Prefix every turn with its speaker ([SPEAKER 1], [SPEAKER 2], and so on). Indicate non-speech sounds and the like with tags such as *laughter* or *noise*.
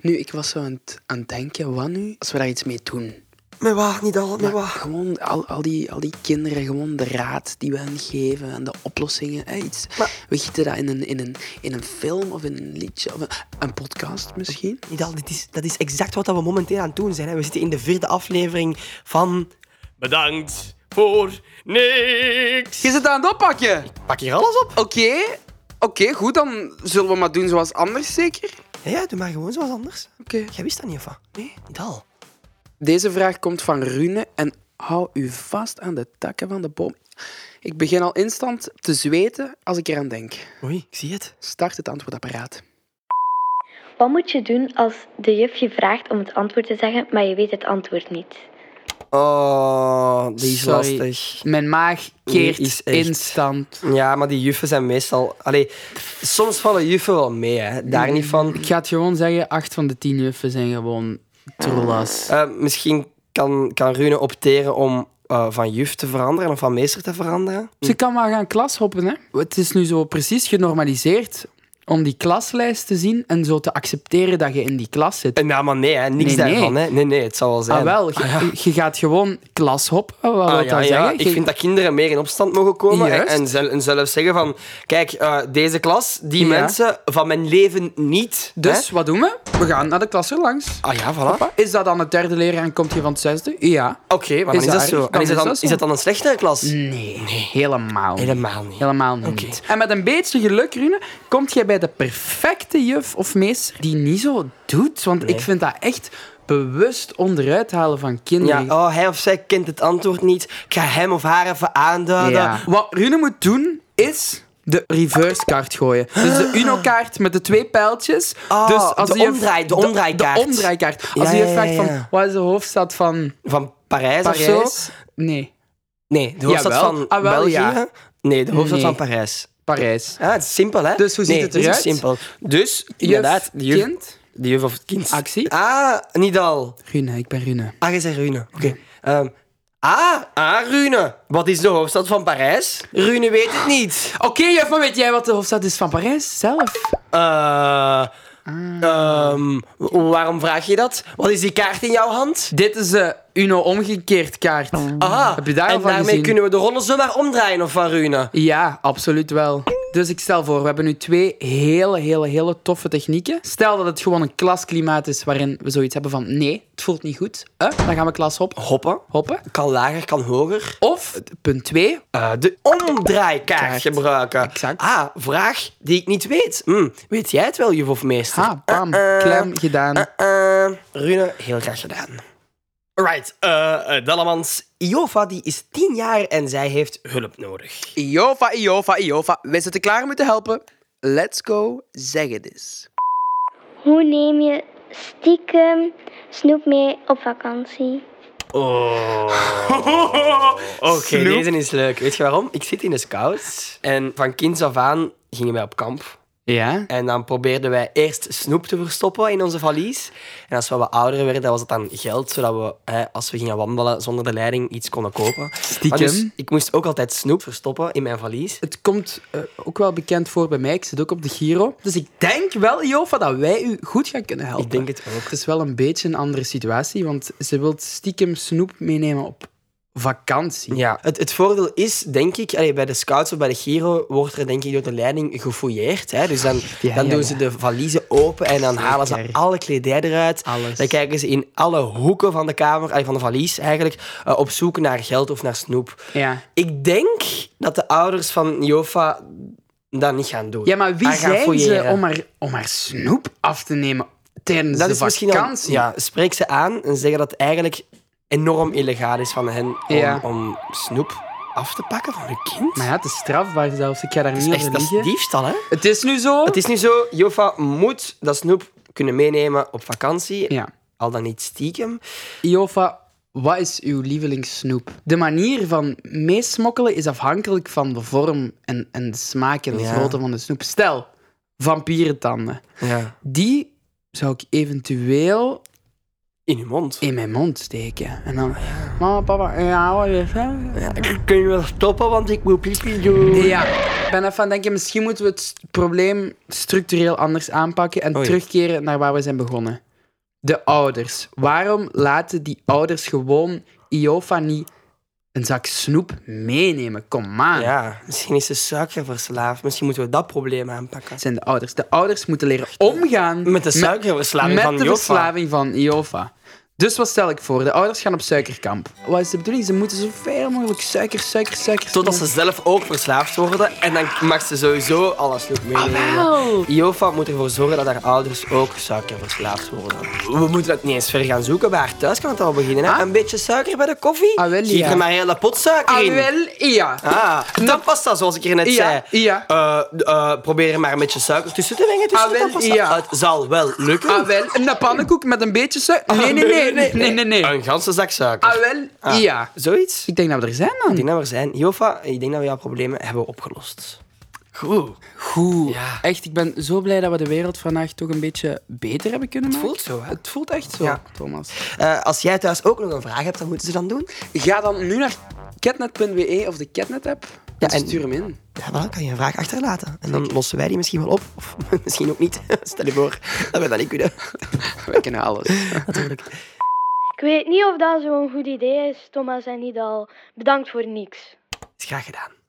[SPEAKER 1] Nu, ik was zo aan het, aan het denken, wat nu als we daar iets mee doen?
[SPEAKER 2] Met wat, niet al, met
[SPEAKER 1] Maar
[SPEAKER 2] wat.
[SPEAKER 1] gewoon al, al, die, al die kinderen, gewoon de raad die we hen geven en de oplossingen. hè, iets.
[SPEAKER 2] Maar-
[SPEAKER 1] We gieten dat in een, in, een, in een film of in een liedje of een, een podcast misschien.
[SPEAKER 2] Niet al, dit is, dat is exact wat we momenteel aan het doen zijn. Hè. We zitten in de vierde aflevering van...
[SPEAKER 3] Bedankt voor niks.
[SPEAKER 1] Je zit aan het oppakken.
[SPEAKER 2] Pak hier alles op?
[SPEAKER 1] Oké, oké, goed, dan zullen we maar doen zoals anders zeker.
[SPEAKER 2] Ja, ja, doe maar gewoon zoals anders.
[SPEAKER 1] Oké.
[SPEAKER 2] Jij wist dat niet, of wat? Nee, niet al.
[SPEAKER 1] Deze vraag komt van Rune en hou u vast aan de takken van de boom. Ik begin al instant te zweten als ik eraan denk.
[SPEAKER 2] Oei, ik zie het.
[SPEAKER 1] Start het antwoordapparaat.
[SPEAKER 4] Wat moet je doen als de juf je vraagt om het antwoord te zeggen, maar je weet het antwoord niet?
[SPEAKER 2] Oh, die is
[SPEAKER 1] Sorry.
[SPEAKER 2] lastig.
[SPEAKER 1] Mijn maag keert
[SPEAKER 2] keert Die is echt-
[SPEAKER 1] instant.
[SPEAKER 2] Ja, maar die juffen zijn meestal... Allee, soms vallen juffen wel mee, hè. Daar niet van.
[SPEAKER 5] Ik ga het gewoon zeggen, acht van de tien juffen zijn gewoon trollas.
[SPEAKER 2] Eh, misschien kan, kan Rune opteren om eh, van juf te veranderen of van meester te veranderen.
[SPEAKER 5] Ze kan maar gaan klashoppen, hè. Het is nu zo precies genormaliseerd om die klaslijst te zien en zo te accepteren dat je in die klas zit.
[SPEAKER 2] Eh, Nou, maar nee, hè. niks
[SPEAKER 5] Nee, nee.
[SPEAKER 2] daarvan. Hè. Nee, nee, het zal wel zijn.
[SPEAKER 5] ah, wel, je, je gaat gewoon klashoppen, wat wil
[SPEAKER 2] Ah,
[SPEAKER 5] dat
[SPEAKER 2] ja, ja.
[SPEAKER 5] zeggen?
[SPEAKER 2] Ik
[SPEAKER 5] Je-
[SPEAKER 2] vind dat kinderen meer in opstand mogen komen en,
[SPEAKER 5] Juist.
[SPEAKER 2] en, zel- en zelf zeggen van... Kijk, eh, deze klas, die
[SPEAKER 5] Ja.
[SPEAKER 2] mensen van mijn leven niet.
[SPEAKER 5] Dus,
[SPEAKER 2] hè.
[SPEAKER 5] wat doen we? We gaan naar de klas erlangs.
[SPEAKER 2] Ah ja, voilà. Oké,
[SPEAKER 5] Is dat dan het derde leraar en komt je van het zesde? Ja.
[SPEAKER 2] maar dan is,
[SPEAKER 5] Is dat
[SPEAKER 2] dat zo.
[SPEAKER 5] erg? Dan
[SPEAKER 2] En is, dat
[SPEAKER 5] is
[SPEAKER 2] dan,
[SPEAKER 5] dat zo.
[SPEAKER 2] is dat dan een slechtere klas?
[SPEAKER 5] Nee, helemaal niet.
[SPEAKER 2] Helemaal niet.
[SPEAKER 5] Helemaal niet. En met een beetje geluk, Rune, kom jij bij de perfecte juf of meester die niet zo doet. Want ik vind dat echt bewust onderuit halen van
[SPEAKER 2] Ja,
[SPEAKER 5] kinderen.
[SPEAKER 2] oh, hij of zij kent het antwoord niet. Ik ga hem of haar even aanduiden.
[SPEAKER 5] Ja. Wat Rune moet doen, is de reverse kaart gooien. Dus de Uno-kaart met de twee pijltjes.
[SPEAKER 2] Ah,
[SPEAKER 5] dus
[SPEAKER 2] de
[SPEAKER 5] die juf-
[SPEAKER 2] omdraai- de
[SPEAKER 5] de-
[SPEAKER 2] omdraaikaart.
[SPEAKER 5] De, omdraaikaart. Als
[SPEAKER 2] Ja,
[SPEAKER 5] je
[SPEAKER 2] ja, ja,
[SPEAKER 5] vraagt
[SPEAKER 2] ja.
[SPEAKER 5] van, wat is de hoofdstad van
[SPEAKER 2] Van Parijs, of zo?
[SPEAKER 5] Parijs? Nee,
[SPEAKER 2] Nee, de hoofdstad
[SPEAKER 5] Jawel.
[SPEAKER 2] van
[SPEAKER 5] Ah, wel,
[SPEAKER 2] België.
[SPEAKER 5] ja.
[SPEAKER 2] Nee, de hoofdstad
[SPEAKER 5] Nee.
[SPEAKER 2] van Parijs.
[SPEAKER 5] Parijs.
[SPEAKER 2] Ah, het is simpel, hè?
[SPEAKER 5] Dus hoe ziet
[SPEAKER 2] Nee,
[SPEAKER 5] het
[SPEAKER 2] dit is
[SPEAKER 5] eruit?
[SPEAKER 2] simpel. Dus, inderdaad, de juf,
[SPEAKER 5] kind,
[SPEAKER 2] de juf of het kind.
[SPEAKER 5] actie.
[SPEAKER 2] Ah, niet al.
[SPEAKER 5] Rune, ik ben Rune.
[SPEAKER 2] Ah, je zei Rune. Oké. Ehm, ah, ah, Rune. Wat is de hoofdstad van Parijs? Rune weet het niet.
[SPEAKER 5] Oké, juf, maar weet jij wat de hoofdstad is van Parijs zelf?
[SPEAKER 2] Eh, ehm, waarom vraag je dat? Wat is die kaart in jouw hand?
[SPEAKER 5] Dit is de Uno omgekeerd kaart.
[SPEAKER 1] Ah,
[SPEAKER 2] Aha,
[SPEAKER 5] Heb je daar al
[SPEAKER 2] Ah, en
[SPEAKER 5] van
[SPEAKER 2] daarmee
[SPEAKER 5] gezien?
[SPEAKER 2] kunnen we de rollen zomaar omdraaien, of van Rune?
[SPEAKER 5] Ja, absoluut wel. Dus ik stel voor, we hebben nu twee hele, hele, hele toffe technieken. Stel dat het gewoon een klasklimaat is waarin we zoiets hebben van nee, het voelt niet goed. Eh, dan gaan we klas hop,
[SPEAKER 2] Hoppen.
[SPEAKER 5] hoppen.
[SPEAKER 2] Kan lager, kan hoger.
[SPEAKER 5] Of, punt 2,
[SPEAKER 2] Eh, de omdraaikaart gebruiken.
[SPEAKER 5] Exact.
[SPEAKER 2] Ah, vraag die ik niet weet. Hm, weet jij het wel, juf of meester?
[SPEAKER 5] ha, ah, bam,
[SPEAKER 2] Eh, eh,
[SPEAKER 5] klem, gedaan.
[SPEAKER 2] eh, eh. Rune, heel graag gedaan. Right, eh eh, Dallemans. Iofa die is tien jaar en zij heeft hulp nodig.
[SPEAKER 1] Iova, Iova, Iova, wij zitten klaar om u te helpen. Let's go, zeg het eens.
[SPEAKER 4] Hoe neem je stiekem snoep mee op vakantie?
[SPEAKER 2] Oké, deze is leuk. Weet je waarom? Ik zit in de scouts en van kinds af aan gingen wij op kamp.
[SPEAKER 5] Ja?
[SPEAKER 2] En dan probeerden wij eerst snoep te verstoppen in onze valies. En als we wat ouder werden, was het dan geld, zodat we, hè, als we gingen wandelen zonder de leiding, iets konden kopen. Maar dus,
[SPEAKER 5] Stiekem.
[SPEAKER 2] ik moest ook altijd snoep verstoppen in mijn valies.
[SPEAKER 5] Het komt eh, ook wel bekend voor bij mij. Ik zit ook op de Giro. Dus ik denk wel, Jofa, dat wij u goed gaan kunnen helpen.
[SPEAKER 2] Ik denk het ook.
[SPEAKER 5] Het is wel een beetje een andere situatie, want ze wil stiekem snoep meenemen op vakantie.
[SPEAKER 2] Ja, het, het voordeel is, denk ik, allee, bij de scouts of bij de Giro wordt er denk ik door de leiding gefouilleerd. Hè? Dus dan,
[SPEAKER 5] Ja,
[SPEAKER 2] dan
[SPEAKER 5] ja,
[SPEAKER 2] doen
[SPEAKER 5] ja.
[SPEAKER 2] ze de valiezen open en dan halen ze
[SPEAKER 5] Zeker.
[SPEAKER 2] alle kledij eruit.
[SPEAKER 5] Alles.
[SPEAKER 2] Dan kijken ze in alle hoeken van de kamer, allee, van de valies eigenlijk, eh, op zoek naar geld of naar snoep.
[SPEAKER 5] Ja.
[SPEAKER 2] Ik denk dat de ouders van Jofa dat niet gaan doen.
[SPEAKER 5] Ja, maar wie
[SPEAKER 2] Haar gaan
[SPEAKER 5] zijn ze
[SPEAKER 2] fouilleren.
[SPEAKER 5] om haar, om haar snoep af te nemen tijdens
[SPEAKER 2] dat
[SPEAKER 5] de
[SPEAKER 2] is misschien al,
[SPEAKER 5] vakantie?
[SPEAKER 2] ja, Spreek ze aan en zeggen dat het eigenlijk enorm illegaal is van hen om,
[SPEAKER 5] Ja.
[SPEAKER 2] om snoep af te pakken van hun kind.
[SPEAKER 5] Maar ja, het is strafbaar zelfs. Ik ga daar niet
[SPEAKER 2] dat is
[SPEAKER 5] over
[SPEAKER 2] echt dat is
[SPEAKER 5] liegen.
[SPEAKER 2] diefstal, hè?
[SPEAKER 5] Het is nu zo.
[SPEAKER 2] Het is nu zo, Jofa moet dat snoep kunnen meenemen op vakantie.
[SPEAKER 5] Ja.
[SPEAKER 2] Al dan niet stiekem.
[SPEAKER 5] Iofa, wat is uw lievelingssnoep? De manier van meesmokkelen is afhankelijk van de vorm en, en de smaak en de
[SPEAKER 2] Ja.
[SPEAKER 5] grootte van de snoep. Stel, vampierentanden.
[SPEAKER 2] Ja.
[SPEAKER 5] Die zou ik eventueel
[SPEAKER 2] In je mond.
[SPEAKER 5] in mijn mond steken. En dan... Mama, papa, ja, wat is dat?
[SPEAKER 2] Kun je wel stoppen, want ik moet pipi doen.
[SPEAKER 5] Ja, ik ben even aan het denken, misschien moeten we het st- probleem structureel anders aanpakken en
[SPEAKER 2] Oei.
[SPEAKER 5] terugkeren naar waar we zijn begonnen. de ouders. Waarom laten die ouders gewoon Iofa niet een zak snoep meenemen? Kom aan.
[SPEAKER 2] Ja, misschien is ze suikerverslaafd. Misschien moeten we dat probleem aanpakken.
[SPEAKER 5] Dat zijn de ouders. De ouders moeten leren omgaan
[SPEAKER 2] Met de suikerverslaving
[SPEAKER 5] met
[SPEAKER 2] van
[SPEAKER 5] de
[SPEAKER 2] Joffa.
[SPEAKER 5] verslaving van Iofa. Dus wat stel ik voor? De ouders gaan op suikerkamp. Wat is de bedoeling? Ze moeten zoveel mogelijk suiker, suiker, suiker...
[SPEAKER 2] Totdat ze zelf ook verslaafd worden en dan mag ze sowieso alles nog meenemen. Jofa moet ervoor zorgen dat haar ouders ook suikerverslaafd worden. We moeten het niet eens ver gaan zoeken, bij haar thuis kan het al beginnen. hè.
[SPEAKER 5] Ah.
[SPEAKER 2] Een beetje suiker bij de koffie?
[SPEAKER 5] Ah, wel,
[SPEAKER 2] Giet
[SPEAKER 5] ja.
[SPEAKER 2] er maar een hele pot suiker
[SPEAKER 5] Ah,
[SPEAKER 2] in.
[SPEAKER 5] wel, ja.
[SPEAKER 2] Ah, dan past dat, zoals ik er net
[SPEAKER 5] Ja,
[SPEAKER 2] zei.
[SPEAKER 5] ja.
[SPEAKER 2] Eh, eh, probeer er maar een beetje suiker tussen te mengen. Tussen
[SPEAKER 5] Ah, wel,
[SPEAKER 2] dan past dat.
[SPEAKER 5] ja.
[SPEAKER 2] Dus Het zal wel lukken.
[SPEAKER 5] Ah, wel, een pannenkoek met een beetje suiker... Nee, nee, Ah, nee, nee, nee, nee. nee.
[SPEAKER 2] Een ganse zak suiker.
[SPEAKER 5] Ah, wel,
[SPEAKER 2] Ah,
[SPEAKER 5] ja.
[SPEAKER 2] Zoiets?
[SPEAKER 5] Ik denk dat we er zijn dan.
[SPEAKER 2] Ik denk dat we er zijn. Jofa, ik denk dat we jouw problemen hebben opgelost.
[SPEAKER 5] Goed. Goed.
[SPEAKER 2] Ja.
[SPEAKER 5] Echt, ik ben zo blij dat we de wereld vandaag toch een beetje beter hebben kunnen maken.
[SPEAKER 2] voelt zo, hè?
[SPEAKER 5] Het voelt echt zo,
[SPEAKER 2] Ja.
[SPEAKER 5] Thomas.
[SPEAKER 2] Eh, als jij thuis ook nog een vraag hebt, dan moeten ze dan doen.
[SPEAKER 1] Ga dan nu naar
[SPEAKER 5] E
[SPEAKER 1] catnet.be of de Catnet-app
[SPEAKER 2] Ja,
[SPEAKER 1] en,
[SPEAKER 2] en-
[SPEAKER 1] stuur hem
[SPEAKER 5] *laughs*
[SPEAKER 1] in.
[SPEAKER 2] Ja, wel, kan je een vraag achterlaten. En dan lossen wij die misschien wel op. Of *laughs* misschien ook niet. Stel je voor dat we dat niet kunnen. *laughs*
[SPEAKER 1] Wij kennen alles.
[SPEAKER 4] Ik weet niet of dat zo'n goed idee is, Thomas en Nidal. Bedankt voor niks.
[SPEAKER 2] Is graag gedaan.